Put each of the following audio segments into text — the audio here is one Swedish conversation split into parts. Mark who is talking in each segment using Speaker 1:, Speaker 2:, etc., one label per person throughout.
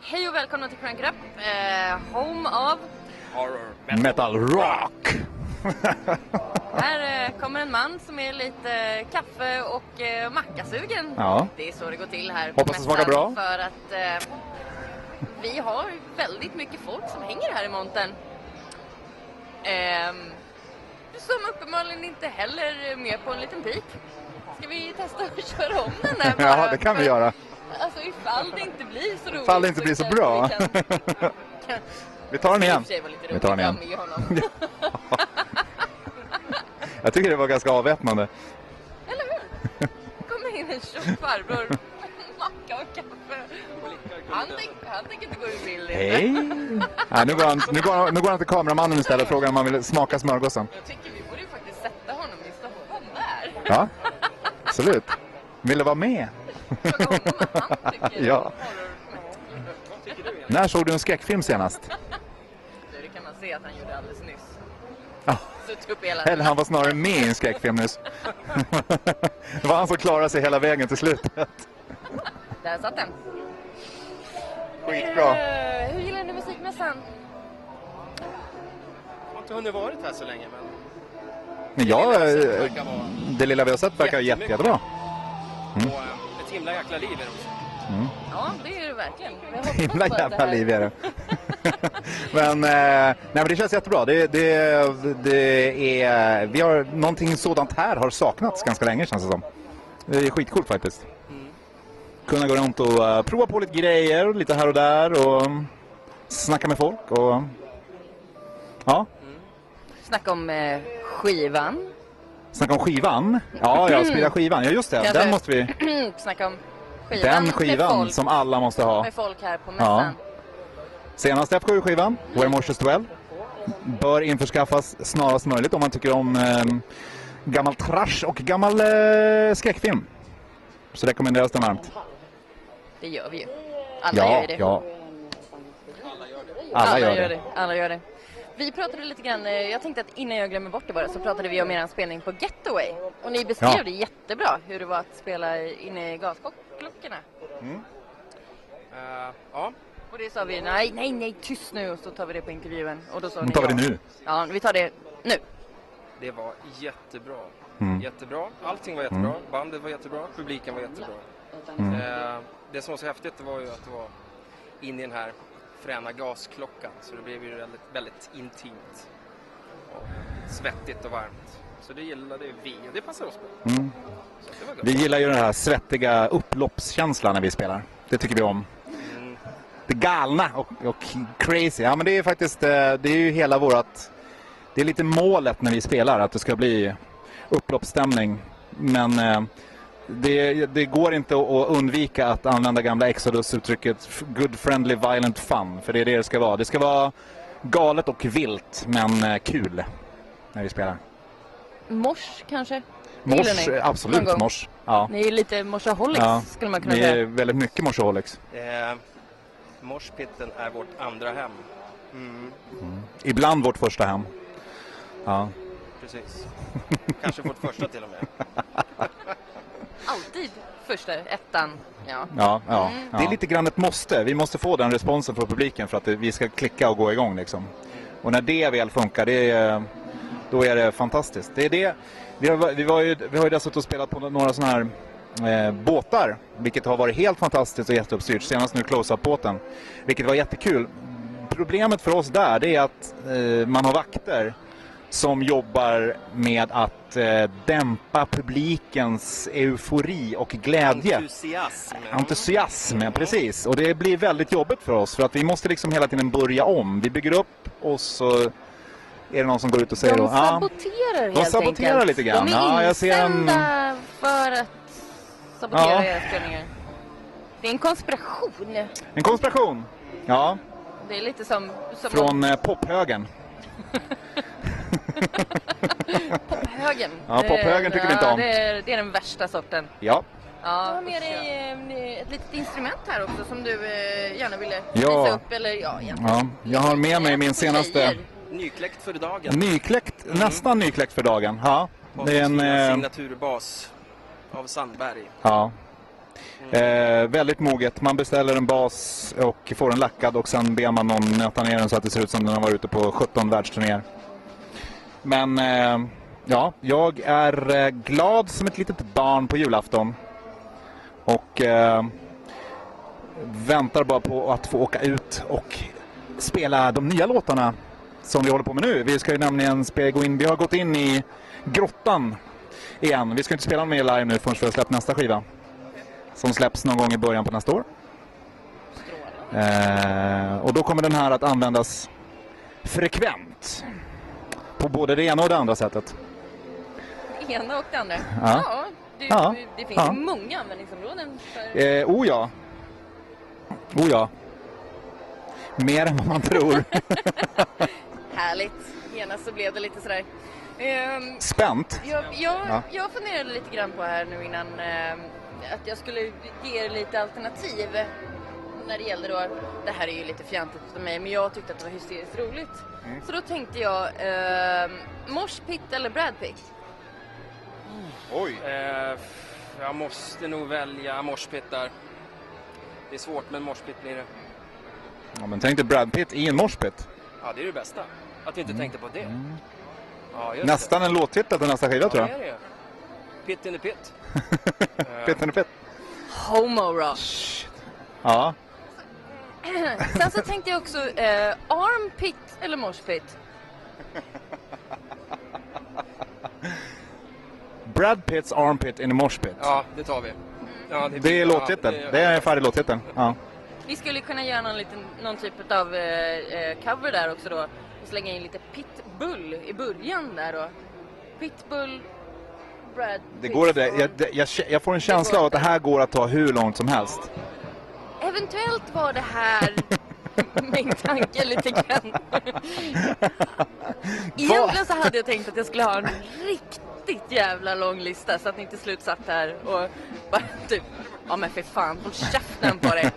Speaker 1: Hej och välkomna till Crank It Up, eh, home av...
Speaker 2: Horror.
Speaker 3: Metal rock!
Speaker 1: Här eh, kommer en man som är lite eh, kaffe och eh, mackasugen.
Speaker 3: Ja.
Speaker 1: Det är så det går till här på
Speaker 3: Hoppas det smakar
Speaker 1: mässan
Speaker 3: bra.
Speaker 1: För att eh, vi har väldigt mycket folk som hänger här i montern. Ehm, som uppenbarligen inte heller är med på en liten pik. Ska vi testa att köra om den där
Speaker 3: Ja, det kan vi göra.
Speaker 1: Alltså ifall det inte blir så roligt.
Speaker 3: Ifall det inte blir så
Speaker 1: kanske vi
Speaker 3: bra.
Speaker 1: kan-
Speaker 3: Vi tar den
Speaker 1: i och
Speaker 3: igen.
Speaker 1: för sig var lite
Speaker 3: Vi tar den
Speaker 1: roligt att
Speaker 3: igen.
Speaker 1: ha med honom.
Speaker 3: Jag tycker det var ganska avväpnande.
Speaker 1: kommer in en tjock farbror med macka och kaffe. Han, tänk, han tänker inte gå ur bild. inte.
Speaker 3: Hej! Nej, nu, går han, nu, går han, nu går han till kameramannen istället och frågar om han vill smaka smörgåsen.
Speaker 1: Jag tycker vi borde ju faktiskt sätta honom i Stockholm där.
Speaker 3: Ja, absolut. Vill du vara med?
Speaker 1: Fråga honom vad han tycker.
Speaker 3: Ja.
Speaker 1: Horror.
Speaker 3: När såg du en skräckfilm senast?
Speaker 1: Du, Det kan man se att han gjorde alldeles nyss.
Speaker 3: Ja.
Speaker 1: Suttit upp hela
Speaker 3: Eller han var snarare med i en skräckfilm nyss. Det var han som klarade sig hela vägen till slutet.
Speaker 1: Där satt den.
Speaker 3: Skitbra.
Speaker 1: Eh, Hur gillar du musikmässan?
Speaker 2: Jag har inte hunnit varit här så länge men...
Speaker 3: Men jag,
Speaker 2: det
Speaker 3: eh,
Speaker 2: verkar vara...
Speaker 3: det lilla vi har sett verkar jätte, jättebra. Mm.
Speaker 2: Och eh, ett himla jäkla liv är det också.
Speaker 1: Ja, det är det verkligen. Vi hoppas på
Speaker 3: Himla
Speaker 1: att det
Speaker 3: jävla
Speaker 1: här-
Speaker 3: liv är det. men, eh, nej, men det känns jättebra. Det, det, det är, vi har, någonting sådant här har saknats ganska länge känns det som. Det är skitcoolt faktiskt.
Speaker 1: Mm.
Speaker 3: Kunna gå runt och eh, prova på lite grejer lite här och där och snacka med folk. Och, ja,
Speaker 1: Snacka om eh, skivan.
Speaker 3: snacka om skivan. Ja, ja, spela skivan. Ja, just det.
Speaker 1: Mm. Kanske.
Speaker 3: Den måste vi...
Speaker 1: Snacka om skivan
Speaker 3: Den
Speaker 1: med
Speaker 3: skivan
Speaker 1: folk.
Speaker 3: som alla måste ha.
Speaker 1: med folk här på mässan.
Speaker 3: Senaste F7-skivan, Where Morses Dwell, bör införskaffas snarast möjligt om man tycker om eh, gammal trash och gammal eh, skräckfilm. Så rekommenderas den varmt.
Speaker 1: Det gör vi ju. Alla gör
Speaker 3: Ja,
Speaker 1: ju det.
Speaker 3: ja.
Speaker 1: Alla,
Speaker 3: Alla gör det.
Speaker 1: gör det. Alla gör det. Vi pratade lite grann, eh, jag tänkte att innan jag glömmer bort det bara så pratade vi om er spelning på Getaway. Och ni beskrev
Speaker 3: Ja.
Speaker 1: det jättebra hur det var att spela i- inne i gasklockorna.
Speaker 2: Eh, ja.
Speaker 1: Och det sa vi, nej, nej, nej, tyst nu och så tar vi det på intervjun. Och då sa
Speaker 3: Nu
Speaker 1: ni
Speaker 3: tar vi
Speaker 1: ja.
Speaker 3: det nu.
Speaker 1: Ja, vi tar det nu.
Speaker 2: Det var jättebra.
Speaker 3: Mm.
Speaker 2: Jättebra. Allting var jättebra. Bandet var jättebra. Publiken var jättebra.
Speaker 3: Mm.
Speaker 2: Eh, det som var så häftigt det var ju att det var in i den här fräna gasklockan. Så det blev ju väldigt, väldigt intimt. Och svettigt och varmt. Så det gillade vi och det passade oss bra.
Speaker 3: Mm.
Speaker 2: Så det var gott.
Speaker 3: Vi gillar ju den här svettiga upploppskänslan när vi spelar. Det tycker vi om.
Speaker 2: Mm.
Speaker 3: det galna och, och crazy. Ja, men det är faktiskt eh, det är ju hela vårat... Det är lite målet när vi spelar, att det ska bli upploppsstämning. Men eh, det, det går inte att att undvika att använda gamla Exodus-uttrycket f- good friendly violent fun, för det är det det ska vara. Det ska vara galet och vilt, men eh, kul när vi spelar.
Speaker 1: Mors kanske? Det gillar
Speaker 3: Mors,
Speaker 1: ni.
Speaker 3: eh,
Speaker 1: Någon
Speaker 3: absolut
Speaker 1: gång.
Speaker 3: mors. Ja.
Speaker 1: Ni är ju lite morsaholics
Speaker 3: Ja,
Speaker 1: skulle man kunna
Speaker 3: Vi
Speaker 1: säga.
Speaker 3: är väldigt mycket morsaholics.
Speaker 2: Eh, morspitten är vårt andra hem. Mm,
Speaker 3: Ibland vårt första hem. Ja.
Speaker 2: precis. Kanske vårt första till och med.
Speaker 1: Alltid första ettan. Ja.
Speaker 3: Ja, ja, Det är lite grann ett måste. Vi måste få den responsen från publiken för att det- vi ska klicka och gå igång. Liksom. Och när det väl funkar, det är, då är det fantastiskt. Det är det. Vi, har, vi, var ju, vi har ju dessutom spelat på några sådana här eh, båtar, vilket har varit helt fantastiskt och jätteuppstyrt. Senast nu close-up-båten, vilket var jättekul. Problemet för oss där, det är att eh, man har vakter som jobbar med att eh, dämpa publikens eufori och glädje.
Speaker 2: Entusiasm.
Speaker 3: Entusiasm, ja, precis. Och det blir väldigt jobbigt för oss för att vi måste liksom hela tiden börja om. Vi bygger upp och så är det någon som går ut och säger
Speaker 1: De
Speaker 3: då, "Ah,
Speaker 1: saboterar helt
Speaker 3: de saboterar
Speaker 1: enkelt.
Speaker 3: lite grann.
Speaker 1: De är
Speaker 3: Ja, jag ser en-
Speaker 1: insända för att sabotera
Speaker 3: Ja.
Speaker 1: era spelningar. Det är en konspiration.
Speaker 3: en konspiration! Ja,
Speaker 1: Det är lite som, som
Speaker 3: från eh, pophögern.
Speaker 1: pophögen.
Speaker 3: Ja, pophögern tycker vi inte om.
Speaker 1: Det är, det är den värsta sorten.
Speaker 3: Ja.
Speaker 1: Ja, du har med dig eh, ett litet instrument här också som du eh, gärna ville
Speaker 3: Ja.
Speaker 1: visa upp. Eller, ja, egentligen.
Speaker 3: ja, jag har med mig min
Speaker 1: För
Speaker 3: senaste
Speaker 1: tjejer.
Speaker 2: Nykläckt för dagen.
Speaker 3: nykläckt, nästan nykläckt för dagen. Ja, det är en... eh,
Speaker 2: Signaturbas av Sandberg.
Speaker 3: Ja. Eh, väldigt moget. Man beställer en bas och får den lackad och sen ber man någon nöta ner den så att det ser ut som den har varit ute på 17 världsturnéer. Men eh, ja, jag är eh, glad som ett litet barn på julafton. Och eh, väntar bara på att få åka ut och spela de nya låtarna som vi håller på med nu. Vi ska ju nämligen spe- gå in, vi har gått in i grottan igen. Vi ska inte spela mer live nu förrän vi har släppt nästa skiva. Som släpps någon gång i början på nästa år. Eh, och då kommer den här att användas frekvent. På både det ena och det andra sättet.
Speaker 1: Det ena och det andra.
Speaker 3: Ja.
Speaker 1: det,
Speaker 3: Ja.
Speaker 1: det finns
Speaker 3: Ja.
Speaker 1: många användningsområden för...
Speaker 3: Eh, oh ja. Oh ja. Mer än vad man tror.
Speaker 1: Härligt. Genast så blev det lite sådär. Ehm,
Speaker 3: Spänt.
Speaker 1: jag, jag,
Speaker 3: Ja.
Speaker 1: jag funderade lite grann på här nu innan ehm, att jag skulle ge er lite alternativ när det gäller då, det här är ju lite fjantigt för mig, men jag tyckte att det var hysteriskt roligt. Så då tänkte jag ehm, Mosh Pit eller Brad Pitt?
Speaker 3: Oj.
Speaker 2: Eh, f- jag måste nog välja morspit där. Det är svårt, men morspit blir det.
Speaker 3: Ja, men tänk dig Brad Pitt i en morspit.
Speaker 2: Ja, det är det bästa. Att vi inte
Speaker 3: Mm.
Speaker 2: tänkte på det. Ja, just
Speaker 3: Nästan en låttitel till nästa skiva
Speaker 2: det.
Speaker 3: tror
Speaker 2: Ja,
Speaker 3: jag.
Speaker 2: det är det. Pitt in the pit.
Speaker 3: Pitt and Pitt.
Speaker 1: Homo Rock.
Speaker 3: Ja.
Speaker 1: Sen så tänkte jag också eh, Arm Pit eller Mosh Pit?
Speaker 3: Brad Pitts armpit in a morspit.
Speaker 2: Ja, det tar vi. Ja,
Speaker 3: Det är låttiteln.
Speaker 2: Ja,
Speaker 3: Det är en färdig låttitel. Ja.
Speaker 1: Vi skulle kunna göra någon, liten, någon typ av eh, eh, cover där också då. Och slänga in lite pitbull i början där då. Pitbull, Brad
Speaker 3: Det
Speaker 1: Pitt.
Speaker 3: går att, jag, det- jag, jag får en känsla av att det här går att ta hur långt som helst.
Speaker 1: Eventuellt var det här min tanke lite grann. Egentligen så hade jag tänkt att jag skulle ha en riktigt jävla lång lista så att ni inte slut satt här och bara typ Ja men för fan, håll käften på dig!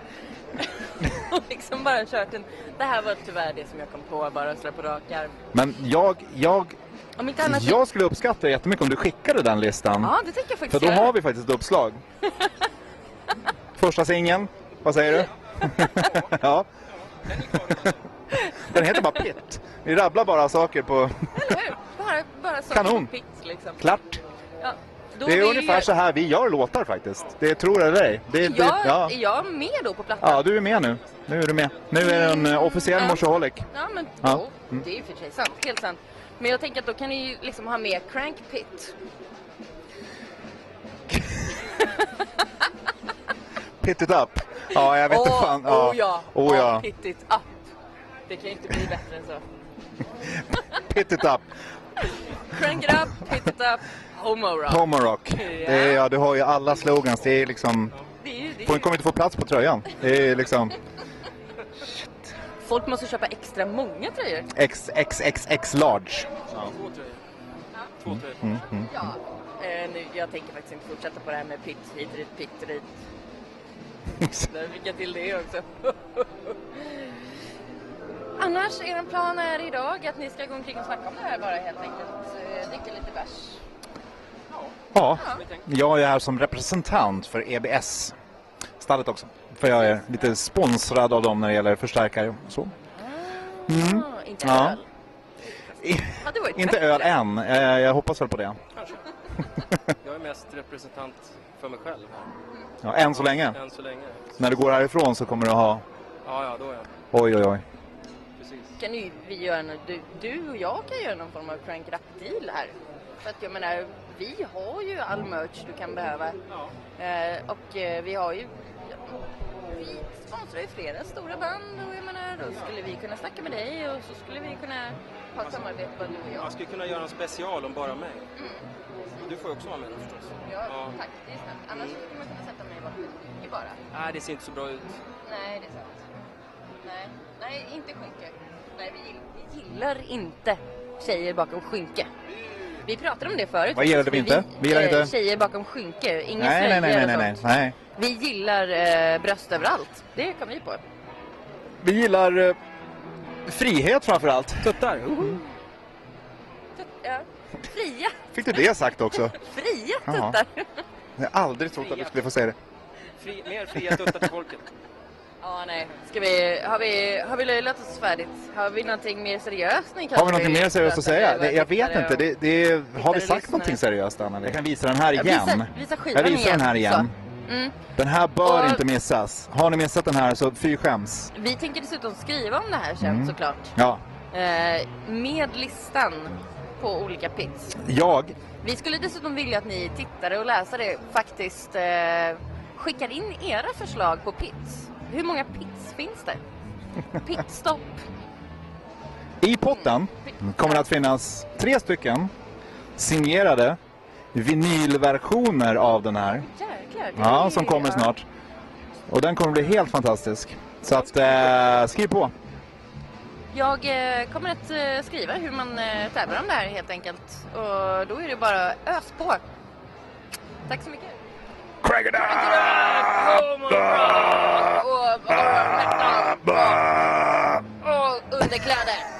Speaker 1: och liksom bara kört en... Det här var tyvärr det som jag kom på bara sådär på rak arm.
Speaker 3: Men jag, jag,
Speaker 1: Om inte annat...
Speaker 3: jag skulle uppskatta det jättemycket om du skickade den listan.
Speaker 1: typ- Ja, det tänker jag faktiskt
Speaker 3: För då
Speaker 1: göra.
Speaker 3: har vi faktiskt ett uppslag. Första singeln, vad säger du? ja. Den heter bara Pitt. Vi rabblar bara saker på
Speaker 1: Eller hur? Bara, bara så
Speaker 3: Kanon.
Speaker 1: Pix, liksom.
Speaker 3: klart.
Speaker 1: Ja. Då
Speaker 3: Det är
Speaker 1: vill-
Speaker 3: ungefär så här vi gör låtar faktiskt. Det tror jag eller ej. Det, det,
Speaker 1: Jag,
Speaker 3: ja.
Speaker 1: Är jag med då på plattan?
Speaker 3: ja, du är med nu. Nu är du med. Nu är det en eh, officiell
Speaker 1: Mm.
Speaker 3: morseholic.
Speaker 1: Ja, men
Speaker 3: Ja. Mm.
Speaker 1: då, det är ju för sig sant. Helt sant. Men jag tänker att då kan ni ju liksom ha med Crank Pit.
Speaker 3: Pit it up. Ja, jag vet inte
Speaker 1: Åh,
Speaker 3: fan.
Speaker 1: åh ja.
Speaker 3: Oh, ja.
Speaker 1: Pit it up. Det kan ju inte bli bättre än så.
Speaker 3: Pit it up.
Speaker 1: Crank it up, pit it up, homo rock.
Speaker 3: Tomorock. Det är, ja, du har ju alla slogans. Det är liksom...
Speaker 1: Det är ju, det är
Speaker 3: Folk
Speaker 1: ju.
Speaker 3: kommer inte få plats på tröjan. Det är liksom
Speaker 1: Folk måste köpa extra många tröjor.
Speaker 3: XXXX large.
Speaker 2: Två tröjor.
Speaker 3: Mm.
Speaker 2: Två tröjor.
Speaker 1: Ja. Eh, nu, jag tänker faktiskt inte fortsätta på det här med pit hit, dit, pit dit. Där fick jag till det också. Annars, er plan är idag att ni ska gå omkring och snacka om det här bara helt enkelt. Eh, Dricka lite bärs.
Speaker 3: Ja, jag är här som representant för EBS. Stallet också. För jag är lite sponsrad av dem när det gäller förstärkare och så.
Speaker 1: Ah, inte
Speaker 3: Mm. Ja.
Speaker 1: öl. Hade varit
Speaker 3: Inte öl än. Eh, Jag hoppas väl på det.
Speaker 2: Kanske. Jag är mest representant för mig själv här.
Speaker 3: Ja, än så länge.
Speaker 2: Än så länge.
Speaker 3: När du går härifrån så kommer du ha...
Speaker 2: Ja, ja, då är jag.
Speaker 3: Oj, oj, oj.
Speaker 2: Precis.
Speaker 1: Kan ju vi göra något, du, du och jag kan göra någon form av crank rap deal här. För att jag menar, vi har ju all merch du kan behöva. Eh, och eh, vi har ju, vi sponsrar ju flera stora band och jag menar, då skulle vi kunna snacka med dig och så skulle vi kunna ha ett samarbete bara du och jag.
Speaker 2: Jag skulle kunna göra en special om bara mig. Du får ju också vara med då förstås.
Speaker 1: Mm. Ja, tack, det är snällt. Annars skulle man kunna sätta mig bort i bara.
Speaker 2: Nej, det ser inte så bra ut.
Speaker 1: Nej, det är sant. Nej, Nej inte skynke. Nej, vi, gill- vi gillar inte tjejer bakom skynke. Vi pratade om det förut.
Speaker 3: Vad gillade vi inte? Vi gillar
Speaker 1: eh,
Speaker 3: inte-
Speaker 1: Tjejer bakom skynke. Inga
Speaker 3: Nej, nej, nej, nej, nej, nej. nej.
Speaker 1: Vi gillar eh, bröst överallt. Det kom vi på.
Speaker 3: Vi gillar eh, frihet framför allt.
Speaker 2: Tuttar!
Speaker 1: Mm. Tut, ja. Fria,
Speaker 3: Fick du det sagt också?
Speaker 1: fria
Speaker 3: Jaha.
Speaker 1: tuttar.
Speaker 3: Jag har aldrig trott att du skulle få säga det.
Speaker 2: Fri, mer fria tuttar till folket.
Speaker 1: Ja, nej. Ska vi, har, vi, har vi löjlat oss färdigt? Har vi någonting mer seriöst? Ni
Speaker 3: Har vi någonting mer seriöst att säga? Det, jag vet inte. Det, det, har vi sagt någonting seriöst, Anna? Jag kan visa den här igen.
Speaker 1: Visa, visa skivan
Speaker 3: Jag visar den här igen.
Speaker 1: Så. Mm.
Speaker 3: Den här bör
Speaker 1: Och-
Speaker 3: inte missas. Har ni missat den här så fy skäms.
Speaker 1: Vi tänker dessutom skriva om det här sen
Speaker 3: Mm.
Speaker 1: såklart.
Speaker 3: Ja,
Speaker 1: Eh, med listan på olika pits.
Speaker 3: jag
Speaker 1: Vi skulle dessutom vilja att ni tittare och läsare faktiskt eh, skickar in era förslag på pits. Hur många pits finns det? Pitstopp.
Speaker 3: I potten kommer det att finnas tre stycken signerade vinylversioner av den här.
Speaker 1: Jäklar. det är-
Speaker 3: Ja, som kommer snart. Och den kommer bli helt fantastisk. Så att eh, skriv på.
Speaker 1: Jag eh, kommer att eh, skriva hur man eh, tävlar om det här helt enkelt. Och då är det bara ös på. Tack så mycket.
Speaker 3: Crack it up!
Speaker 1: Och, och, och, och underkläder.